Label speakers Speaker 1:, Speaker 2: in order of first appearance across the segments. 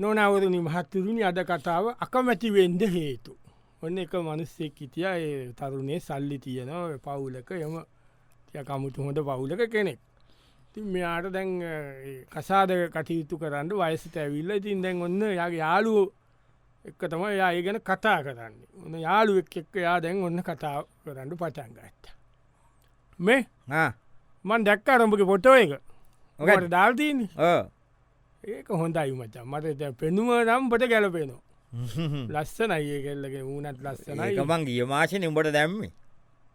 Speaker 1: නොනවරුණි මහත්තුරුණි අද කතාව අකමැතිවෙන්ඩ හේතු. ඔන්න එක මනුස්සෙක් හිටිය ඒ තරුණේ සල්ලි තියනව පවුලක යම කමුතු හොඳ පවුලක කෙනෙක්. තින් මෙයාට දැන් කසාද කටයුතු කරන්න වයසට ඇවිල්ල ඉතින් දැන් ඔන්න යාගේ යාලුව එක්ක තම යා ඒ ගැන කතා කරන්න ඔන්න යාළුවෙක් එක්ක යා දැන් ඔන්න කතා කරන්න පටන්ගත්ත. මේ මන් දැක්ක රම්ඹක පොටෝ එක ඔකට දාල්තිීන් ඒක හොඳයි මචා මට දැන් පෙනුම නම්පට ගැලපෙනවා ලස්සනයි ඒ කෙල්ලගේ වූනත් ලස්සනයි
Speaker 2: ගමන් ගිය මාශන උඹට දැම්මේ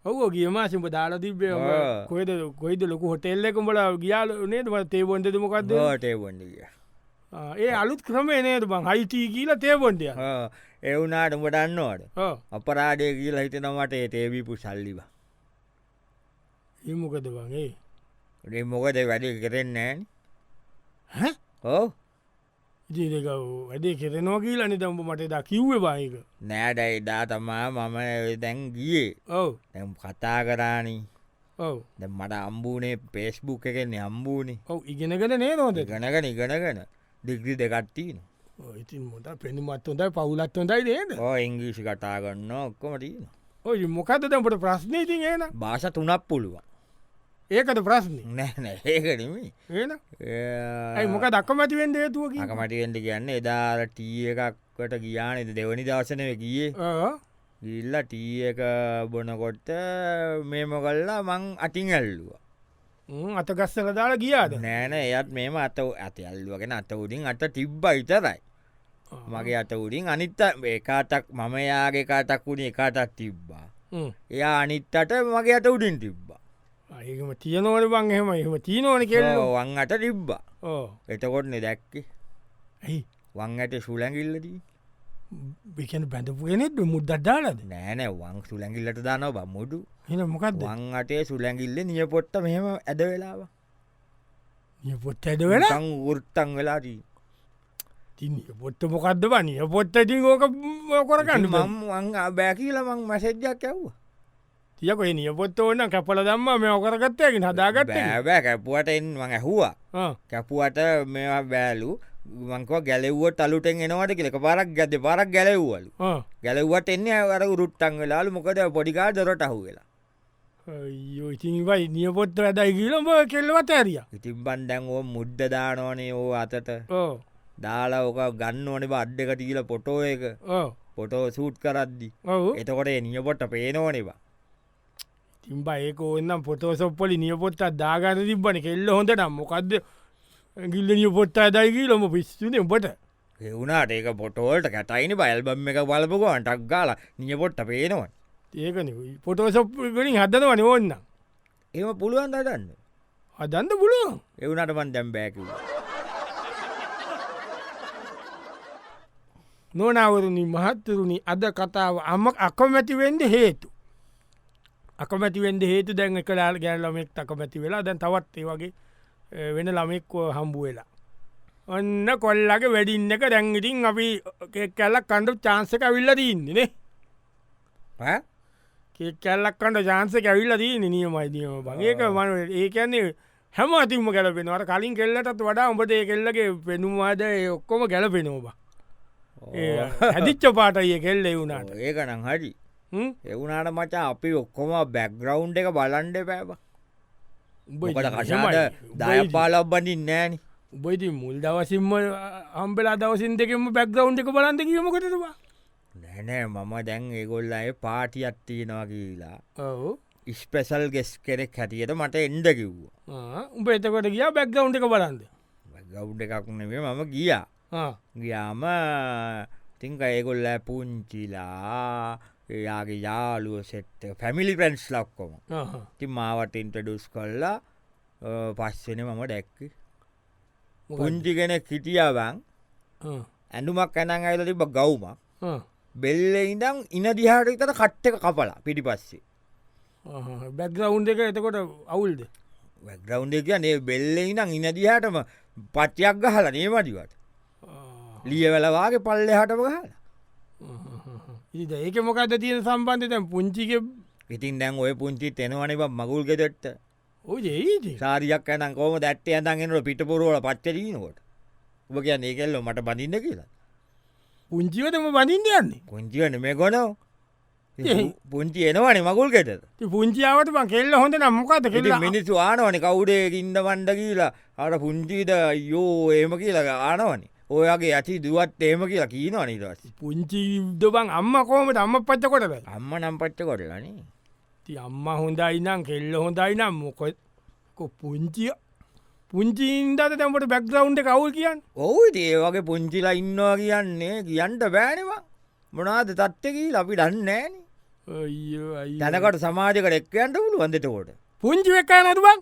Speaker 1: ඔව ගියමාසිම දාලා තිබේ
Speaker 2: ආ.
Speaker 1: කොයිද කොයිද ලොකු හොටෙල්ලෙකුඹල ගියාල නේතුම තේබොන්ඩතුමකක්ද
Speaker 2: දෝටේවඩිය
Speaker 1: ඒ අලුත් ක්‍රමේ නේතු බං හයිටී කියීල තේබොන්ඩිය
Speaker 2: එවුනාට උඹ දන්නවාට අපරාඩය කියලා හිතනමට ඒ තේවීපු සල්ලිවා
Speaker 1: ඉමකද වගේ
Speaker 2: ඒ මොකද වැඩි කරෙන්නෑන්
Speaker 1: හ
Speaker 2: ඕ
Speaker 1: ජීදක වැඩේ කෙරෙනවා කියලා නිතම්ඹ මට දා කිව්ව බාහික
Speaker 2: නෑඩයි දා තමා මම දැන් ගියේ
Speaker 1: ඔව
Speaker 2: තැම් කතා කරානී
Speaker 1: ඔව
Speaker 2: දැන් මට අම්බූනේ පේස්බුක් එකෙන්නේ අම්බූනේ
Speaker 1: ඔව ඉගෙනගෙන නේ නොද
Speaker 2: ගණගන ඉගෙනගෙන දිග්‍රි දෙකට්ටීන
Speaker 1: ඉතින් මොට පෙනුමත් හොඳයි පවුලත් හොඳයි නේද
Speaker 2: ඕ ඉංග්‍රීසි කතා කරන්න ඔක්කොමටීන
Speaker 1: ඔය මොකද දැම්පට ප්‍රශ්නීතින් ඒන
Speaker 2: භාෂ තුනක් පුළුවන්
Speaker 1: ඒකට ප්‍රශ්නය
Speaker 2: නෑ ඒකනමි
Speaker 1: ඒන ඇයි මොක දක්කමැතිවෙන් දේතුවකි
Speaker 2: අකමටෙන්ට කියන්න එදාර ටී එකක්කට ගියාන එද දෙවනි දර්ශනය ගිය ඉල්ල ටී එක බොනකොට මේම කල්ලා මං අටින් ඇල්ලුවා
Speaker 1: අතගස්සල දාලා ගියාද
Speaker 2: නෑන එයත් මේම අත ඇත ඇල්ලුවගෙන අත උඩින් අත තිබ්බ ඉතරයි මගේ අත උඩින් අනිත්ත ඒකාතක් මම යාගේ කාතක් වුණේ එකටක් තිබ්බා
Speaker 1: හ්ම්.
Speaker 2: එයා අනිත්තට මගේ අත උඩින් තිබ්බා
Speaker 1: ආ, ඒකම තියනෝට බං එහෙම එහම තිීනෝන කෙල්ලෝ
Speaker 2: වන් අට තිබ්බා
Speaker 1: ඕ
Speaker 2: එතකොට නෙ දැක්කේ
Speaker 1: ඇයි
Speaker 2: වං ඇට සුලැඟිල්ලදී
Speaker 1: බිකන බැඳපුගෙනෙත් මුද්දත් දාලද
Speaker 2: නෑනෑ වං සුලැඟිල්ලට දානවා බමුඩු
Speaker 1: එන මොකක්ද
Speaker 2: වං අටේ සුලැඟිල්ල නිය පොට්ට මෙහෙම ඇද වෙලාව
Speaker 1: නිය පොත් ඇද වෙලා
Speaker 2: තං වෘත්තන් වෙලාදී
Speaker 1: තින්නේ පොත්ත මොකක්ද බනිය පොත්ත ඉතින් ඕක කොරගන්න
Speaker 2: මම වං බෑකිලමං මැසෙද්ජක් ඇව්ව
Speaker 1: තියක නිය පොත්ත ඕන්න කැපල දම්ම මේ ඕකරගත්තයකින් හදාගත්ත
Speaker 2: බෑබෑ කැපුවට එන් මං ඇහුවා කැපුවට මෙවා බෑලු මංකව ගැලෙව්ව තලුටෙන් එනවට කෙලක පරක් ගැද පරක් ගැලව්වලු ගැලව්වට එන්නේ අර ුරුට්ටන් වෙලාලු මොකද පොඩිකා දොරට අහු වෙලා
Speaker 1: යෝ ඉතින්වයි නිය පොත්ත වැඩයි ගීලම කෙල්ලවත් ඇරිය
Speaker 2: ඉතින් බන් දැන් ඕ මුද්ද දානෝනේ ඕ අතට
Speaker 1: ඕ
Speaker 2: දාලා ඕක ගන්න ඕනේ බඩ් එකට කියල පොටෝ එක
Speaker 1: ඕ
Speaker 2: පොටෝ සූට් කරද්දි
Speaker 1: ඔවු
Speaker 2: එතකොට නියපොට්ට පේනෝනවා
Speaker 1: තිම්බ ඒක ඔන්නම් පොතෝසොප්පොලි නියපොත්තත් දාගන්න තිබන කෙල්ල හොඳ නම් මොකක්ද ගිල්ල නියපොත්තා දයිකී ලොම පිස්තුනේ උඹට
Speaker 2: එවුණට ඒක පොටෝල්ට කැටයින බල්බම් එක බලපුකෝ අටක් ගාල නියපොට්ට පේනවා
Speaker 1: ඒකන පොටෝසොප්ලින් හදනවන ඕන්න
Speaker 2: ඒම පුළුවන් දටන්න
Speaker 1: හදන්න පුළුවන්
Speaker 2: එවුණට පන් දැම් බෑකිව
Speaker 1: නොනවරුණි මහත්තුරුණි අද කතාව අම අකමැතිවෙන්ඩ හේතු අකමැතිවෙන්ඩ හේතු දැන් කලා ගැල් ලමෙක් අකමැති වෙලා දැන් තවත් ඒ වගේ අ, වෙන ළමෙක්ව හම්බු වෙලා ඔන්න කොල්ලගේ වැඩින්න එක දැංගිටින් අපි කැල්ලක් කණ්ඩු චාන්සක විල්ල දීන්නේනේ කෙක් කැල්ලක් කට ජාන්ස කැවිල්ල දී නියමයිදීම බගේක මන ඒකන්නේ හැම අතිම ගැලපෙනවට කලින් කෙල්ලටත් වඩා උඹට ඒ කෙල්ලගේ පෙනුම්වාද ඔක්කොම ගැලපෙනෝබ හැදිච්ච පාටය කෙල්ල වුණාට
Speaker 2: ඒකනම් හරි එවුණට මචා අපි ඔක්කොම බැක්ග්‍රවන්් එක බලන්ඩ පෑබ ට කශාට දය පාලබ්බඩින් නෑන
Speaker 1: උබයිති මුල් දවසින්ම අම්බෙලා දවසින් දෙකෙම පැක්ගවන්් එක බලන්ද කියීමකටවා
Speaker 2: නැනෑ මම දැන් ඒගොල්ල අය පාටි අත්තියෙනවා කියලා
Speaker 1: ඔවු
Speaker 2: ඉස්පෙසල් ගෙස් කෙනෙක් හැටියට මට එන්ඩ කිව්වා
Speaker 1: උඹ එතකොට ගිය බැක්ගවන්් එක බලන්ද
Speaker 2: ගෞ්ඩ එකක්නේ මම ගියා ගියාම තිංක ඒගොල්ල පුංචිලා එයාගේ යාලුව සෙට් පැමිලි පෙන්ස් ලක්කොම ති මාවට ඉන්ටඩුස් කොල්ලා පස්සෙන මම දැක්ක පුංචිගෙන කිටියාවන් ඇඩුමක් ඇනං ඇතති බ ගෞම බෙල්ල ඉඳම් ඉන දිහාටතට කට්ටක කපලා පිටි පස්සේ
Speaker 1: බැක්ගවන්් එක එතකොට අවුල්ද
Speaker 2: වැග්‍රවන්් එක නේ බෙල්ල ඉනම් ඉන දිහාටම පට්ටියක් ගහල නේමඩිවට ලියවලවාගේ පල්ලෙ හටම ගහලා
Speaker 1: ඉද ඒක මොකක්ද තියෙන සම්බන්ධතැන් පුංචික
Speaker 2: ඉතින් දැන් ඔය පුංචි තෙනවනේ මගුල් ගෙදෙට්ට
Speaker 1: ඕජේද
Speaker 2: සාරියක් ඇන කෝම දැට්ටේ ඇතන්ගෙනට පිටපුරුවල පච්චරීනකොට ඔබ කියන්න ඒකෙල්ලො මට බඳින්න කියලා
Speaker 1: පුංචිවටම බඳින්ද යන්නේ
Speaker 2: පුංචිවන මේ ගොනෝ පුංචි එනවනේ මගුල් කෙටද
Speaker 1: ඉතින් පුංචියාවට බං කෙල්ල හොඳ නම්මකත
Speaker 2: ඉතින්
Speaker 1: කෙල්ලා
Speaker 2: මිනිස්සු ආනවනේ කවුඩේ ඉන්න වණ්ඩ කියලා අට පුංචිද යෝ ඒම කියලා ආනවනේ ඔයගේ ඇති දුවත් ඒම කියලා කියීනවා නිදස
Speaker 1: පුංචි දබන් අම්ම කෝමට අම්ම පච්ච කොටද
Speaker 2: අම්ම නම්පච්ච කොටලනේ
Speaker 1: ති අම්ම හොඳයිනම් කෙල්ල හොඳයිනම් මොකො පුංචිය පුංචින්දද තැමට බැක්ග්‍රවන්් කවුල් කියන්න
Speaker 2: ඔවු ඒ වගේ පුංචිලා ඉන්නවා කියන්නේ කියන්ට බෑනවා මොනාද තත්්‍යකී අපි දන්නේන
Speaker 1: අයියෝ, අයියෝ.
Speaker 2: දැනකට සමාජකට එක්කයන්ට පුළු වන්දතකොට
Speaker 1: පුංචි වෙක්කා නැතු බං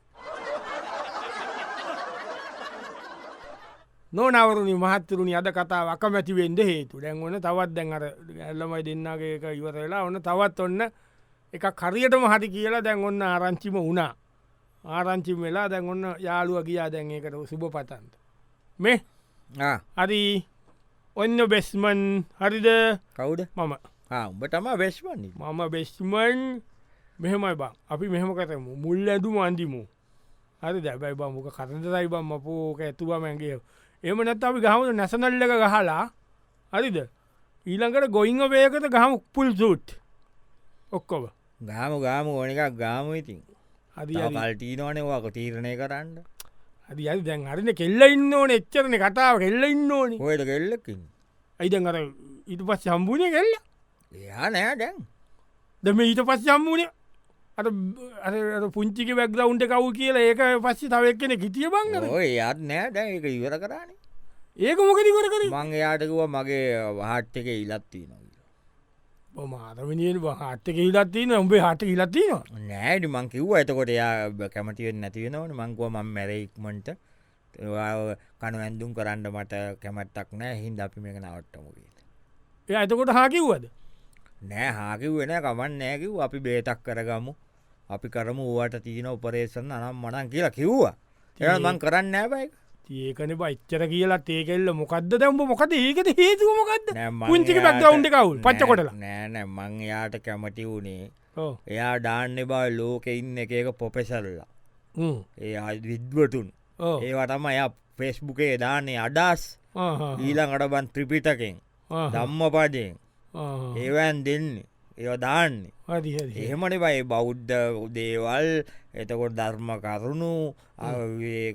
Speaker 1: නොනවරුණනි මහත්තරුණනි අද කතාව අකමැතිවෙන්ද හේතු දැන් ඕන තවත් දැන් අර ඇල්ලමයි දෙන්නගේ එක ඉවරලා ඔන්න තවත් ඔන්න එක කරියටම හරි කියලා දැන් ඔන්න ආරංචිම වුණා ආරංචිම වෙලා දැන් ඔන්න යාළුව ගියා දැන් ඒකට සුබ පතන්ත මේ හරි ඔන්න බෙස්මන් හරිද
Speaker 2: කවුඩ
Speaker 1: මම
Speaker 2: උඹ තම වෙස්වන්නේ
Speaker 1: මම බෙස්මන් මෙහෙමයි බං අපි මෙහෙම කරමු මුල් ඇඳුම අන්දිමු හරි දැබැයි බමුක කතදරයි බම්ම පෝක ඇතුවමැගේ එම නැත් අපි ගහමුද නැසනල්ලක ගහලා හරිද ඊළඟට ගොයිංග වේකට ගහම උපපුල් සුට් ඔක්කොව
Speaker 2: ගාම ගාම ඕන එකක් ගාම ඉතින්
Speaker 1: හරි හරි.
Speaker 2: පල්ටීනෝනවාක තීරණය කරන්න
Speaker 1: හරි අරි දැන් හරින කෙල්ල ඉන්න ඕන එච්චරන කතාව කෙල්ල ඉන්න ඕනි
Speaker 2: හොයට කෙල්ලකින්
Speaker 1: ඇයිදන් අර ඊට පස් සම්බූනය කෙල්ල
Speaker 2: එයා නෑ දැන්
Speaker 1: දෙම ඊට පස් සම්බූනය අ පුංචික වැක්දවුන්ට කවු කියලා ඒක පස්සේ තවක් කෙන කිටිය බංගර
Speaker 2: ඔය එයාත් නෑ දැන් එක ඉවර කරන්නේ
Speaker 1: ඒක මොකදිවර කර
Speaker 2: මං එයාටකුව මගේ වහට් එක ඉලත්තිී නො
Speaker 1: මාතමනියෙන් හටක ඉලත්තින උඹේ හට ඉලත්තිනවා
Speaker 2: නෑඩි මං කිව්ව එතකොට එයා බ- කැමතිවෙන් නැතිවෙනවන මංකුව මං මැරෙක්මට කනු ඇඳුම් කරන්න මට කැමැත්තක් නෑ හින්ද අපි මේක නවට්ටමුගේ
Speaker 1: එය එතකොට හාකිව්වද
Speaker 2: නෑ හාකිව වෙන කමන් නෑකිව් අපි බේතක් කරගමු අපි කරම ඌට තියෙන උපරේෂන් අනම් මනන් කියලා කිව්වා එ මං කරන්න නෑබයි
Speaker 1: ඒකන පච්චර කියලා ඒකෙල්ල මොකක්ද දැම්ඹ මොකද ඒකද හේතුව මොකක්ද
Speaker 2: නෑ
Speaker 1: පුංචික බැක්ගවුන්් කවුල් පච්ච කොටලා
Speaker 2: නෑනෑ මං එයාට කැමති වුණේ
Speaker 1: ඔව්.
Speaker 2: එයා ඩාන්න බා ලෝක ඉන්න එකක පොපෙසල්ලා
Speaker 1: හ්ම්.
Speaker 2: ඒ අය විද්වතුන්
Speaker 1: ඔව්.
Speaker 2: ඒවටම එය පෙස්බුකේ දානේ අඩස්
Speaker 1: ආහා.
Speaker 2: ඊළඟට බන් ත්‍රිපිටකෙන්
Speaker 1: ආහා.
Speaker 2: දම්ම පදයෙන්
Speaker 1: ආහා.
Speaker 2: ඒවෑන් දෙන්නේ ඒව දාන්නේ
Speaker 1: හරි, හරි.
Speaker 2: එහෙමට බයි බෞද්ධ දේවල් එතකොට ධර්ම කරුණු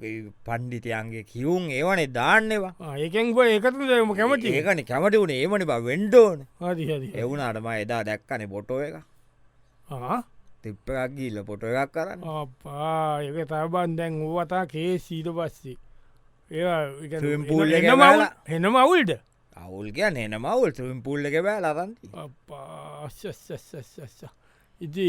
Speaker 2: පණ්ඩිතයන්ගේ කිවුම් ඒවනේ දාන්නවා
Speaker 1: ආ, ඒකෙන් බ ඒකතු දම කැමති
Speaker 2: ඒකන කැමට වුණ ඒමනි බ වෙන්ඩෝන
Speaker 1: හරි හරි
Speaker 2: එවුණ අටම එදා දැක්කනේ බොටෝ එක
Speaker 1: ආ.
Speaker 2: තිප්පකක් ගිල්ල පොට එකක් කරන්න
Speaker 1: අප්පා ඒක තබන් දැන් ඕවතා කේ සීට පස්සේ
Speaker 2: Swimming
Speaker 1: ඒ
Speaker 2: pool එක
Speaker 1: හෙනමවුල්
Speaker 2: ගෑලා.
Speaker 1: හෙනමවුල්ද
Speaker 2: අවුල් කිය නන මවුල් සුම් පුල්ල එක බෑ ලබන්ති
Speaker 1: අපස්ස ඉති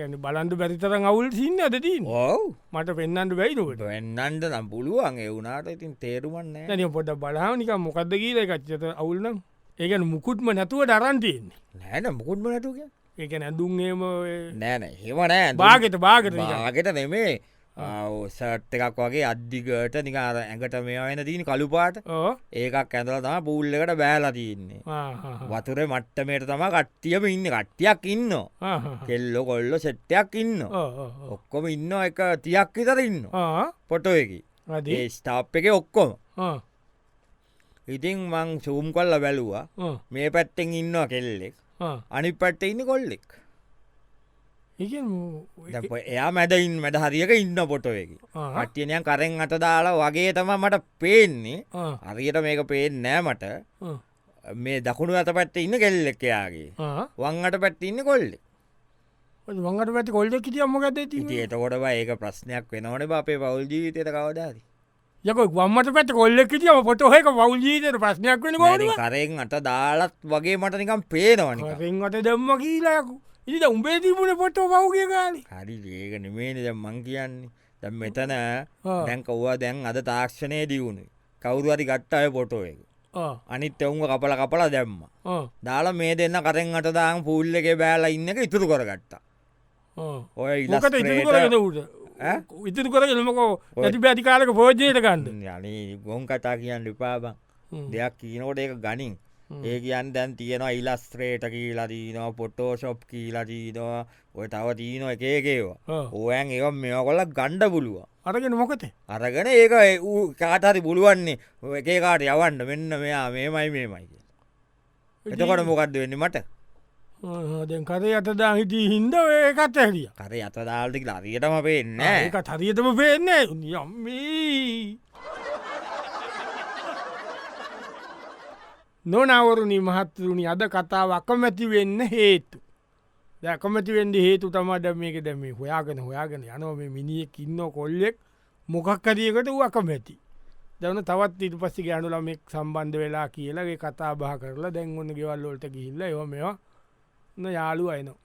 Speaker 1: ඒන බලන්ඩ බැරිතරම් අවුල් සින්න අදතින්
Speaker 2: ඕව්
Speaker 1: මට පෙන්න්නට බැයිනුවට
Speaker 2: වෙන්නන්ට නම් පුළුවන් එවුනාට ඉතින් තේරුවන්න
Speaker 1: ැන පොට බලානික මොකක්ද කියල එකච්චත අවුල්නම් ඒකන මුකුත්ම නැතුව දරන්තියන්නේ
Speaker 2: නෑන මුකුත්ම නැටුක
Speaker 1: ඒක නැදුන්ගේම
Speaker 2: නෑන හෙවනෑ
Speaker 1: බාගෙත බාගත
Speaker 2: වාගට නෙමේ සට් එකක් වගේ අධ්දිගට නිකාර ඇඟට මේ අයන තියන කළුපාට ඒකක් ඇඳලතා පූල්ලකට බෑලා තියන්නේ වතුර මට්ටමයට තම කට්ටියම ඉන්න කට්ටියක් ඉන්න කෙල්ලො කොල්ලො සෙට්ටයක් ඉන්න ඔක්කොම ඉන්න එක තියක් විතර ඉන්න පොටෝයකි ඒ ස්ථාප් එක ඔක්කොම ඉතින් මං සූම් කොල්ල බැලුවා මේ පැත්තෙන් ඉන්නවා කෙල්ලෙක් අනි පැට්ට ඉන්න කොල්ලෙක් දැන් පො- එයා මැඩයින් මැඩ හරිියක ඉන්න පොටෝයකි කට්ටියනයන් කරෙන් අත දාලා වගේ තම මට පේන්නේ හරියට මේක පේෙන් නෑ මට මේ දකුණු අත පැත්ත ඉන්න කෙල්ලෙක් එයාගේ වංගට පැත්ති ඉන්න කොල්ලෙ
Speaker 1: මඟට පැති කොල්ඩ කිටිය මොකද
Speaker 2: ඉති එතකොට බා ඒක ප්‍රශ්නයක් වෙනවන අපේ පවල් ජීවිතයට කවදාද
Speaker 1: යක ගම්මට පැත් කොල්ලෙ කිටියම පොටහක වෞල්ජීතයට ප්‍රශ්නයක් වෙන ගොඩ
Speaker 2: කරෙන් අත දාලත් වගේ මට නිකම් පේනවනික
Speaker 1: රෙන්වට දෙම්ම කියීලාකු ඉට උඹේ තිබුණ පොට වෞගේ කාල
Speaker 2: හරි ඒක නිමේනද මං කියන්නේ දැ මෙතන දැන්කව්වා දැන් අද තාක්ෂණය දියුණු කවුරු හරි ගට්ට අය පොටෝ එක අනිත් එවුන්ව කපල කපලා දැම්ම දාලා මේ දෙන්න කරෙන් අට දාං පූල්ල එක බෑලා ඉන්න එක ඉතුරු කරගත්තා ඔය
Speaker 1: මොකට ඉතුරු කරගෙන ඌට
Speaker 2: ඈ?
Speaker 1: ඉතුරු කරගෙන මොකෝ ඇති පැතිකාලක පෝජයට ගන්න
Speaker 2: යන ගොන් කතා කියන්න ලිපාබං දෙයක් කියනකොට ඒක ගනින් ඒ කියන් දැන් තියෙනවා ඉලස්ත්‍රේට කියීලා දීනවා පොටෝශොප් කියීලා දීනවා ඔය තව තියනවා එකේකේවා ඕයන් ඒ මෙ කොල්ල ගණ්ඩ පුළුව
Speaker 1: අරගෙන මොකතේ
Speaker 2: අරගෙන ඒක ඒ ඌ කාටහරි පුළුවන්නේ ඔය එකේ කාට යවන්න මෙන්න මෙයා මේමයි මේමයි කියලා. එතකොට මොකක්ද වෙන්න මට
Speaker 1: දැන් කරේ අතදා හිටී හින්ද ඒකත් ඇරිය
Speaker 2: කර අත දාල්ටික අරියටම පේන්න
Speaker 1: ඒක හරියතම පේන්න යම්මී නොනවරුණි මහත්තරුණි අද කතාව අකමැති වෙන්න හේතු. දැකමැති වෙන්ඩි හේතු තමට මේක දැම හොයාගෙන හොයාගෙන යනොම මිනිියක් ඉන්න කොල්ලෙක් මොකක්කරියකට වකමැති. දැන තවත් ඉට පස්ස ගෑනුලමෙක් සම්බන්ධ වෙලා කියලගේ කතා බා කරලා දැන්ගොන්න ගෙවල්ලොට ගිල්ල එෝ මෙවා න යාලු අයනවා.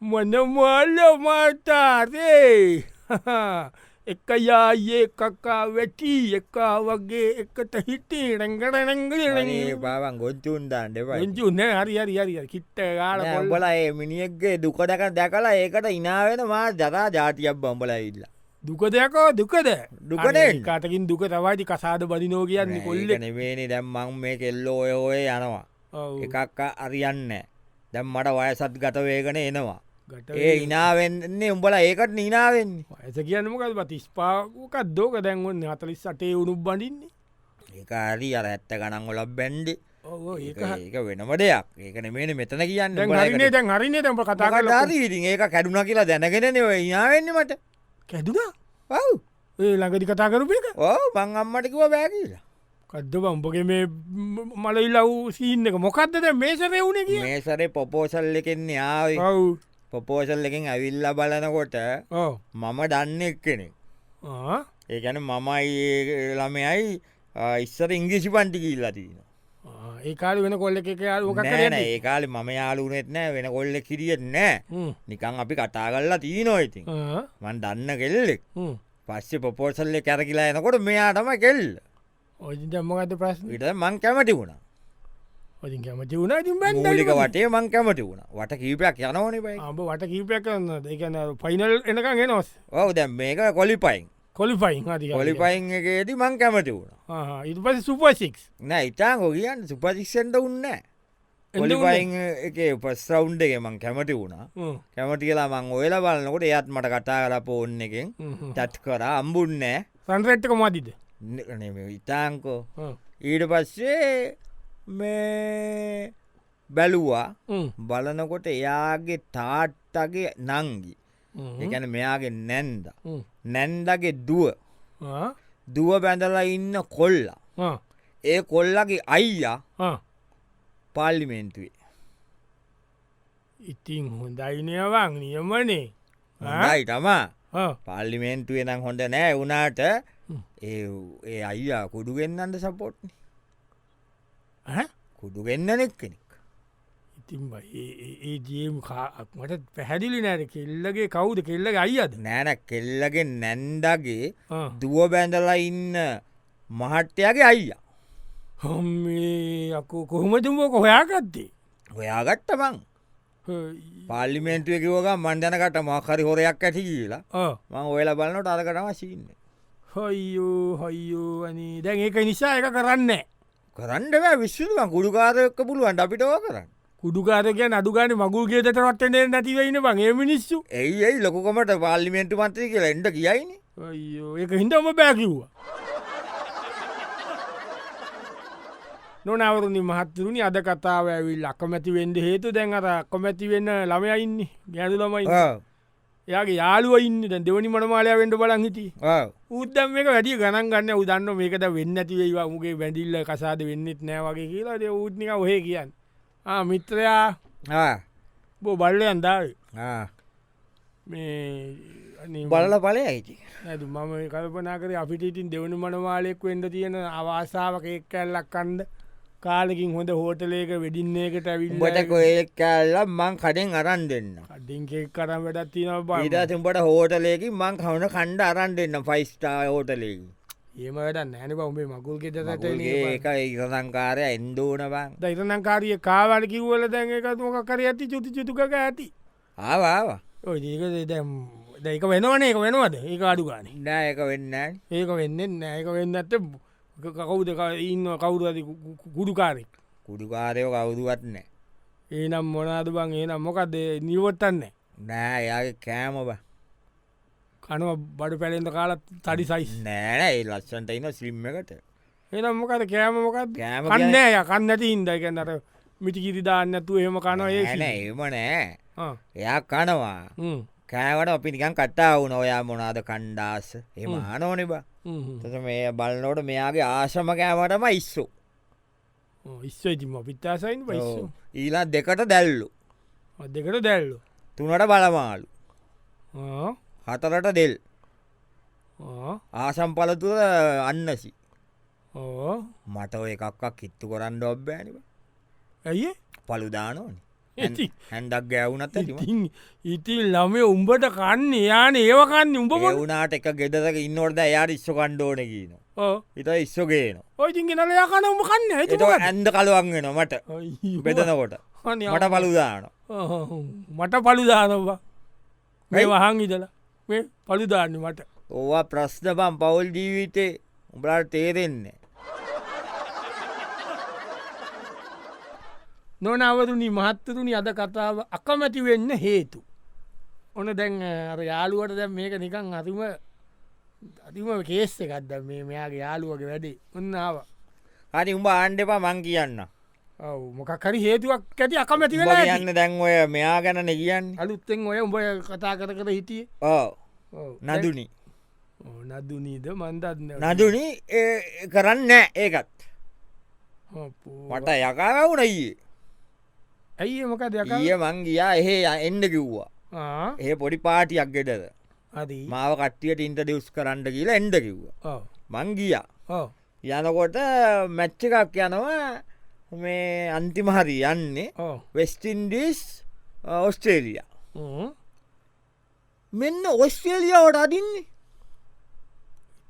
Speaker 1: මොනමල්ල මතාරේ එක යායේ කකා වැටී එකා වගේ එකට හිටේ රැංගට
Speaker 2: ඒ
Speaker 1: නැංගල
Speaker 2: බාවන් ගොච්චුන් දාන්න එපයි
Speaker 1: රංචු නෑ හරි හරි හරි කිට්ට ගාල
Speaker 2: බල ඒ මිනිියක්ගේ දුකටක දැකලා ඒකට ඉනාවෙන මා ජතා ජාතියක් බම්බල ඉල්ල
Speaker 1: දුක දෙයකෝ දුකද
Speaker 2: දුකනේ.
Speaker 1: අනේ, කාටකින් දුක තවයිති කසාද බදිනෝ කියන්නේ කොල්ල
Speaker 2: කොල්ලනවෙනි දැම්මං මේ කෙල්ලෝ ඔය ඔය යනවා එකක් අරියන්න දැම් මට වයසත් ගතවේගෙන එනවා ඒ ඉනාවෙන්නේ උඹල ඒකට නිනාවෙන්නේ
Speaker 1: ඇස කියන්නමකල් තිස්පාකක් දෝක දැන්වන්න අතලිස් සටේ උුණු බඩින්නේ
Speaker 2: ඒක හරි අර ඇත්ත ගනන් ොල බැන්්ඩි
Speaker 1: ඔ ඒ
Speaker 2: ඒක වෙනම දෙයක් ඒකන මේන මෙතන කියන්න
Speaker 1: දැන් හරිනේ දැන් හරිනේ දැම කතා කරලා
Speaker 2: දාී ඒක කැඩුන කියලා දැනගෙන නෙව ඉනාවෙන්න මට
Speaker 1: කැදුනා
Speaker 2: ඔව්
Speaker 1: ඒ ළඟදි කතා කරපු එක
Speaker 2: ඕ බංගම්මටිකව බෑ කියලා
Speaker 1: කද්ද බම්පගේ මේ මලයිලව් සීන් එක මොකක්ද දැන් මේසරය වුණ කිය
Speaker 2: මේ සරේ පොපෝසල් එකෙන්නේ ආවි
Speaker 1: ඔව්
Speaker 2: පොපෝසල් එකෙන් ඇවිල්ල බලනකොට
Speaker 1: ඕ
Speaker 2: මම දන්න එක්කෙනෙ
Speaker 1: ආ
Speaker 2: ඒකැන මමයි ඒ ළමයයි ආ, ඉස්සර ඉංග්‍රිසි පන්ටි කිල්ලතින
Speaker 1: ආ, ඒ කාල වෙන කොල්ල එක යාලෝකක්
Speaker 2: ඒකාල මම යාලුනෙත් නෑ වෙන කොල්ල කිරියෙත් නෑ නිකං අපි කතා කල්ලා තියනෝ ඉතින් මන් දන්න කෙල්ලෙක් පස්සේ පොපෝසල්ල කැරකිලා එනකොට මෙයාටම කෙල්
Speaker 1: ඔජින් දම්මගත ප්‍රශ්න
Speaker 2: විට මං කැමති වුණ
Speaker 1: ඔජින් කැමති වුණා තින්
Speaker 2: මූලික වටේ මං කැමති වුණ වට කීපයක් යනවන පයි
Speaker 1: අඹ වට කීපයක් කරන්න එකන පයිනල් එනකං එනොස්
Speaker 2: ඔව දැම් මේක කොලිපයින්
Speaker 1: කොලිපයින් අති
Speaker 2: කොලිපයින් එකේදී මං කැමති වුණ
Speaker 1: ඉට පස සුපසික්
Speaker 2: නෑ ඉතා හොගියන් සුපතික්ෂෙන්ට උන්න කොලිපයින් එක උපස්රවුන්් එක මං කැමති වුණා කැමති කියලා මං ඔයල බලන්නකොට එයත් මට කතා කලා පෝන්න එකෙන් තත් කර අම්බුන්නෑ
Speaker 1: සන්රට්ක මතිද
Speaker 2: ඉතාංකෝ ඊට පස්සේ මේ බැලුවා බලනකොට එයාගේ තාට්ටගේ නංගි එකන මෙයාගේ නැන්ද නැන්දගේ දුව දුව බැඳලා ඉන්න කොල්ලා ඒ කොල්ලගේ අයියා පාල්ලිමේන්තුවේ
Speaker 1: ඉතින් හොඳයිනයවන් නියමනේ
Speaker 2: හයි තමා පාල්ලිමේන්තුවේ නම් හොඳ නෑ වනාට ඒ ඒ අයියා කුඩුගෙන්න්නට සපෝට්න කුඩුගෙන්න්න නෙක්කෙනෙක්
Speaker 1: ඉතින් බ- ඒ- ඒ- ඒ ජියම් කාක් මට පැහැදිලි නෑට කෙල්ලගේ කවුද කෙල්ලක අයිද
Speaker 2: නෑන කෙල්ලගේ නැන්දගේ දුව බැඳලා ඉන්න මහට්ටයගේ අයියා
Speaker 1: හොම් අකෝ කොහොමතුමෝ කොහොයාගත්තේ
Speaker 2: ඔයාගත්ත බං පාල්ලිමේන්තුවේ කිවෝග මන්දනකට මහකරි හොරයක් ඇති කියලා මං ඔයලා බලන්නට අදකටම සින්න
Speaker 1: හොයියෝ හොයියෝ අනේ දැන් ඒක නිසා එක කරන්න
Speaker 2: කරන්න බෑ විශ්ුම ගුඩුකාරයක්ක පුළුවන් අපිට ඕ කරන්න
Speaker 1: කුඩුකාරකය අඩුගාන මගුල්ගේ දතරවටනේ නැතිවන්න බගේ මිනිස්සු
Speaker 2: ඇයි ඇයි ලොකොමට පාල්ලිමේන්තු මන්ත්‍රය කියලා එඩ කියයින
Speaker 1: අයියෝ එක හිටම බෑකිව්වා නොනවරුණි මහත්තුරුණි අද කතාව ඇවිල් අකමැති වෙන්ඩ හේතු දැන් අර කොමැති වෙන්න ළමයඉන්න ගැඩු ළමයි යාගේ යාලුව ඉන්න දැන් දෙවනි මනමාලයා වෙන්ඩ බලන් හිටි උද්දම් මේක වැඩි ගණන් ගන්න උදන්න මේකට වෙන්න ඇතිවේවා මුගේ වැඩිල්ල කසාද වෙන්නෙත් නෑ වගේ කියලාද ඌත්නික ඔහේ කියන්න ආ, මිත්‍රයා බෝ බල්ලයන් දාව මේ අනේ
Speaker 2: බලල පලය ඇති
Speaker 1: නැතු මම ඒ කල්පනා කර අපිට ඉතින් දෙවුණු මනවාලෙක් වෙන්ඩ තියෙන අවාසාාවක එක් කැල්ලක් කන්ඩ කාලකින් හොඳ හෝටලේක වෙඩින්නේකට
Speaker 2: උඹට
Speaker 1: ඇවිල්ට
Speaker 2: කොය කැල්ල මං කඩෙන් අරන් දෙන්න
Speaker 1: කඩින්කෙක් කරම් වැඩත් තියෙන බ
Speaker 2: ඉදාතිම්බට හෝටලයකි මං කවුන කණ්ඩ අරන් දෙන්න ෆයිස්ටා හෝටලයකි
Speaker 1: ඒම වැඩ නෑන බවමේ මකුල් ගෙදතට
Speaker 2: ඒක ඒ සංකාරය එන්දෝන බං
Speaker 1: දයිතනංකාරිය කාවල කිව්වල දැන් එකත් මොක කර ඇති චුති චුතුකක ඇති
Speaker 2: ආවාවා
Speaker 1: ඔය ඒක දැම් දැක වෙනවනඒක වෙනවද ඒක අඩුගාන
Speaker 2: ඉඩායක වෙන්නයි
Speaker 1: ඒක වෙන්නෙන් නෑක වෙන්න ඇත කවුද ඉන්න කවුරු ඇති ගුඩුකාරෙක්
Speaker 2: කුඩුකාරයෝ කවුදුවත් නෑ
Speaker 1: ඒනම් මොනාද බං ඒනම් මොකක්ද නිවොත්තන්නේ
Speaker 2: නෑ එයාගේ කෑම බ
Speaker 1: අනුව බඩු පැලෙන්ට කාලත් තඩි සයිස්
Speaker 2: නෑ ඒ ලස්සන්ට ඉන්න සිල්ම් එකට
Speaker 1: එනම් මොකද කෑම මොකක්ද
Speaker 2: කෑම කියන්නේ-
Speaker 1: කන්නෑ කන්නැති ඉන්දගන්නට මිටිකිරි දාන්නතු එහෙම කනවා ඒ
Speaker 2: නෑ, නෑ, එහෙම නෑ එයා කනවා
Speaker 1: ම්.
Speaker 2: කෑවට අපි නිකන් කටා වුන ඔයා මොනාද කණ්ඩාස එම හනෝනිබ
Speaker 1: ම්හ්ම්.
Speaker 2: තස මේ බලනෝට මෙයාගේ ආශම කෑමටම ඉස්සු
Speaker 1: ඔව්, ඉස්සෝතිම පිත්තාසයින් පයිස්සු
Speaker 2: ඊලා දෙකට දැල්ලු
Speaker 1: දෙකට දැල්ලු
Speaker 2: තුනට බලමාලු
Speaker 1: ආ,
Speaker 2: හතරට දෙල්
Speaker 1: ආ,
Speaker 2: ආසම්පලතුර අන්නසි
Speaker 1: ඕ
Speaker 2: මට ඔය එකක්ක් කිත්තු කරන්න ඔබ්බෑනිව
Speaker 1: ඇයි
Speaker 2: පළුදානෝනි
Speaker 1: ඉතින්.
Speaker 2: හැන්ඩක් ගෑවුනත් ඇතිම
Speaker 1: ඉතින් ඉතින් ළමේ උඹට කන්න යාන ඒවකන්න උඹම
Speaker 2: වුණට එක ගෙදක ඉන්නවට එයාට ඉස්ස කණ්ඩෝන කියන ඉත ඉස්සගේන
Speaker 1: ඔයිතින් ගෙනල යකන උඹ කන්න ඇති
Speaker 2: එතක ඇන්ද කළුවන්ගෙන මට බෙදනකොට මට පළුදාන
Speaker 1: මට පළුදානවා මේ වහන් ඉදලා මේ පළුදාන්න මට
Speaker 2: ඕවා ප්‍රශ්න පම් පවුල් ජීවිතේ උඹලාට තේරෙන්නේ
Speaker 1: නොනවරුණි මහත්තරුණි අද කතාව අකමැති වෙන්න හේතු. ඔන දැන් අර යාළුවට දැම් මේක නිකං අතුම අතිම කේස්ස එකක්ද මේ මෙයාගේ යාළුවගේ වැඩේ උන්නාව
Speaker 2: හරි උඹ ආණ්ඩපා මං කියන්න
Speaker 1: ඔව මොකකරි හේතුවක් ඇති අකමැති වෙලා
Speaker 2: උඹ
Speaker 1: ඇති.
Speaker 2: කියන්න දැන් ඔය මෙයා ගැන නැගියන්
Speaker 1: අලුත්තෙන් ඔය උඹ කතා කර කර හිටියේ
Speaker 2: ඕ
Speaker 1: ඔව්.
Speaker 2: නදුනි
Speaker 1: ඔව්, නදුනීද මන්දන්න
Speaker 2: නදුනි කරන්න ඒකත් මට යකාවුන ඊයේ
Speaker 1: ඇයි මොක දෙයක්
Speaker 2: ඊය මං ගියා එහෙ එන්න කිව්වා ඒ පොඩි පාටියක් ගෙටද
Speaker 1: අද
Speaker 2: මාව කට්ටියට ඉන්ටඩියස් කරන්න කියලා එන්ඩ කිව්වා මං ගියා
Speaker 1: ඕ
Speaker 2: යනකොට මැච්ච එකක් යනවා මේ අන්තිමහරි යන්නේ
Speaker 1: ඕ
Speaker 2: වෙස්ටින්ඩිස් ඔස්ට්‍රේලිය
Speaker 1: ඕ
Speaker 2: මෙන්න ඔස්ට්‍රේලියාවට අදින්නේ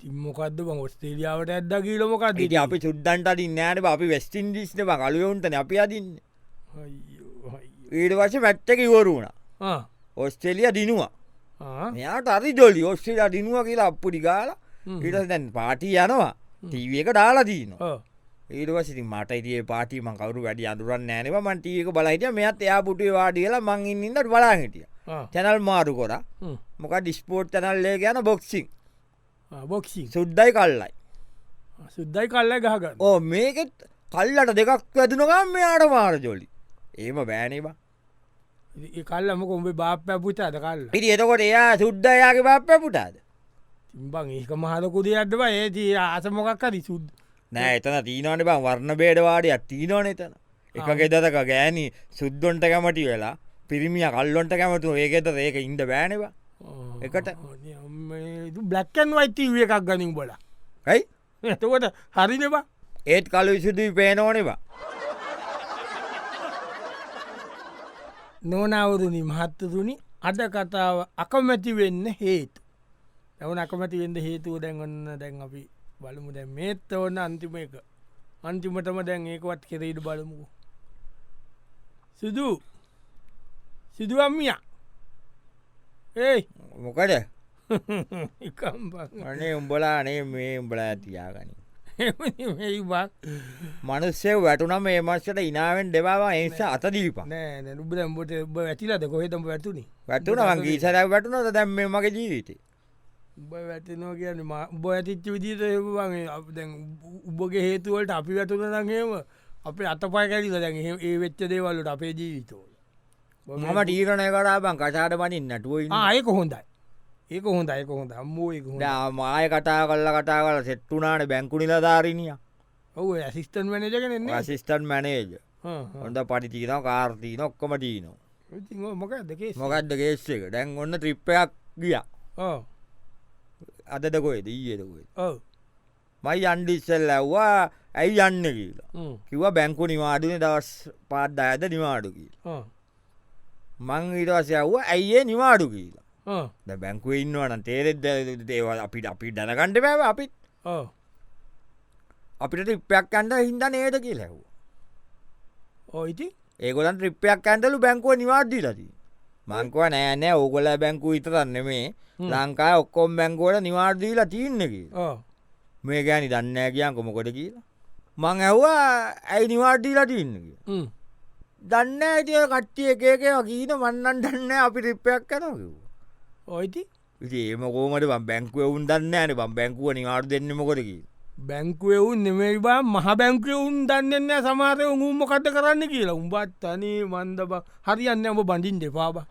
Speaker 1: තිම්මොකක්ද බං ඔස්ටේලියාවට ඇද්ද කියීලමොකක්ද
Speaker 2: ඉට අපි සුද්දන්ට අඩින් නෑට අපි වෙස්ටින්ඩිස්න කලුවුන්ටන අපි අදින්න
Speaker 1: අයියෝ, අයියෝ.
Speaker 2: ඊට වශ මැට්ටක ඉවරුණ
Speaker 1: ආ,
Speaker 2: ඔස්ට්‍රේලිය දිනවා
Speaker 1: ආ,
Speaker 2: මෙයාට අරි ජොලි ඔස්ට්‍රේලිය දිනුව කියලා අපපුඩි ගාල
Speaker 1: හ්ම්.
Speaker 2: ඉට දැන් පාටී යනවා ටීව එක දාලා දීනවා
Speaker 1: ඔව්.
Speaker 2: ඒටවසිති මට ඉතිේ පාටීම කවරු වැඩි අඳුරන් නෑනව මන්ටීක බලහිටිය මෙත් එයා පුටේ වාඩි කියලා මං ඉන්නට බලා හිටිය
Speaker 1: ආ,
Speaker 2: චැනල් මාරු කොර
Speaker 1: හ්ම්.
Speaker 2: මොක ඩිස්පෝට් චනල්ලේ ගැන බොක්සිං
Speaker 1: ආ, බොක්සින්
Speaker 2: සුද්දයි කල්ලයි
Speaker 1: සුද්දයි කල්ල ගහගන්න
Speaker 2: ඕ මේකෙත් කල්ලට දෙකක් වැදනගම් මෙයාට මාර ජොලි ඒම බෑනවා
Speaker 1: ඒ කල්ලම කොඹේ බාප්පය පුත අද කල්ල
Speaker 2: පිරි එතකොට එයා සුද්දයාගේ බප්පපුටාද
Speaker 1: තිම්බං ඒක මහලකුදේ අඩව ඒති ආසමොකක්කද සුද්ද
Speaker 2: නෑ එතන තිීනට බං වර්ණ බේඩවාඩය තිීනොන එතන එක
Speaker 1: ආ.
Speaker 2: ගෙදතක ගෑනි සුද්දොන්ට කැමටි වෙලා පිරිමිය කල්ලොන්ට කැමතු ඒකෙත ඒක ඉන්න බෑනවා එකට.
Speaker 1: බ්ලක්කන් වයිති විය එකක් ගනින් බොල
Speaker 2: ඇයි
Speaker 1: එතකොට හරිනවා
Speaker 2: ඒත් කලු විසුදුයි පේනෝනවා
Speaker 1: නොනවරුණි මහත්තතුනි අද කතාව අකමැති වෙන්න හේතු. ඇවන අකමැති වෙන්න හේතුව දැන් ඔන්න දැන් අපි බලමු දැන් මේත්ත ඔන්න අන්තිම එක අන්තිමටම දැන් ඒකවත් කෙරෙයිට බලමුකු. සිදු සිදුවම්මිය ඒ
Speaker 2: මොකද
Speaker 1: එකම්බ
Speaker 2: අනේ උඹලානේ මේ උඹලා ඇතියාගනි
Speaker 1: ඒවා
Speaker 2: මනුස්සය වැටුනම් මේ මස්සට ඉනාවෙන් දෙබවා ඒස අතදීපා
Speaker 1: නෑ නැනුබ දැම්බට බ ඇතිලද කොහෙතම වැටුණි
Speaker 2: වැටුනවන් ගීසර වැටුනොද දැම් මේ මගේ ජීවිතේ
Speaker 1: උඹ වැටනෝ කියන්න උඹ ඇතිච්ච විදිට ඒවාගේ දැන් උබගේ හේතුවලට අපි වැටුන දගේම අපේ අතපය කැරිල දැන් එහෙ- ඒ වෙච්ච දේවල්ලට අපේ ජීවිතෝල
Speaker 2: මම ටීරණය කරාබන් කටාට පනින් නැටුවයි
Speaker 1: ආයක හොඳයි ඒක හොඳ අයක හොඳ අම්මෝ එක හොඳ
Speaker 2: මාය කටා කල්ල කටා කල සෙට්ටුනාට බැංකුනිලධාරණිය
Speaker 1: ඔව ඇසිස්ටන් වෙනජගෙනෙන්නේ
Speaker 2: සිිස්ටන් මැනේජ හොඳ පටිතිීන කාර්තිීන ඔක්කොම ටීනෝ
Speaker 1: මොක දෙකේ
Speaker 2: මොකක්ද ගේස්සක ඩැන් ඔන්න ත්‍රිප්පයක් ගිය අදකොේ දීයකොේ
Speaker 1: ඔව
Speaker 2: මයි අන්ඩිස්සල් ඇව්වා ඇයි යන්න කියලා කිව බැංකු නිවාඩුන දවස් පාත් අඇද නිවාඩුකි මං ඉටවසය ව්ව ඇයිඒ නිවාඩු කියලා ද බැංකුව ඉන්නවන තේරෙද දේවල් අපිට අපි දැනකණ්ඩ බැව අපිත්
Speaker 1: ඔව
Speaker 2: අපිට ්‍රිප්පයක් ඇන්ඩ හින්ද නේද කියලැව
Speaker 1: ඕයිති
Speaker 2: ඒගොලන් ්‍රිප්පයක් ඇන්ඩලු බැංකුව නිවාර්දී ලදී මංකව නෑනෑ ඕගොල බැංකු ඉතරන්න මේ ලංකා ඔක්කොම් බැංකෝට නිවාර්දීලා තියන්නකි
Speaker 1: ඕ
Speaker 2: මේ ගෑනි දන්න කියන් කොමකොට කියලා මං ඇව්වා ඇයි නිවාර්දීලා තියන්නකි දන්න ඇතිය කට්ටිය එකක වගීන මන්නන් දන්න අපි රිප්පයක් කනකිව
Speaker 1: ඔයිති
Speaker 2: ඒම කෝමට බැංකුවවුන් දන්න න බම් බැංකුව නිවාර් දෙන්න මොකොදකි
Speaker 1: බැංකුවවුන් නෙමයි බා මහ බැංකුවවුන් දන්නන්න සමාරය උුම්ම කට කරන්න කියලා උම්බත් තනී මන්ද හරියන්න ඔබ බඳින් දෙපාබා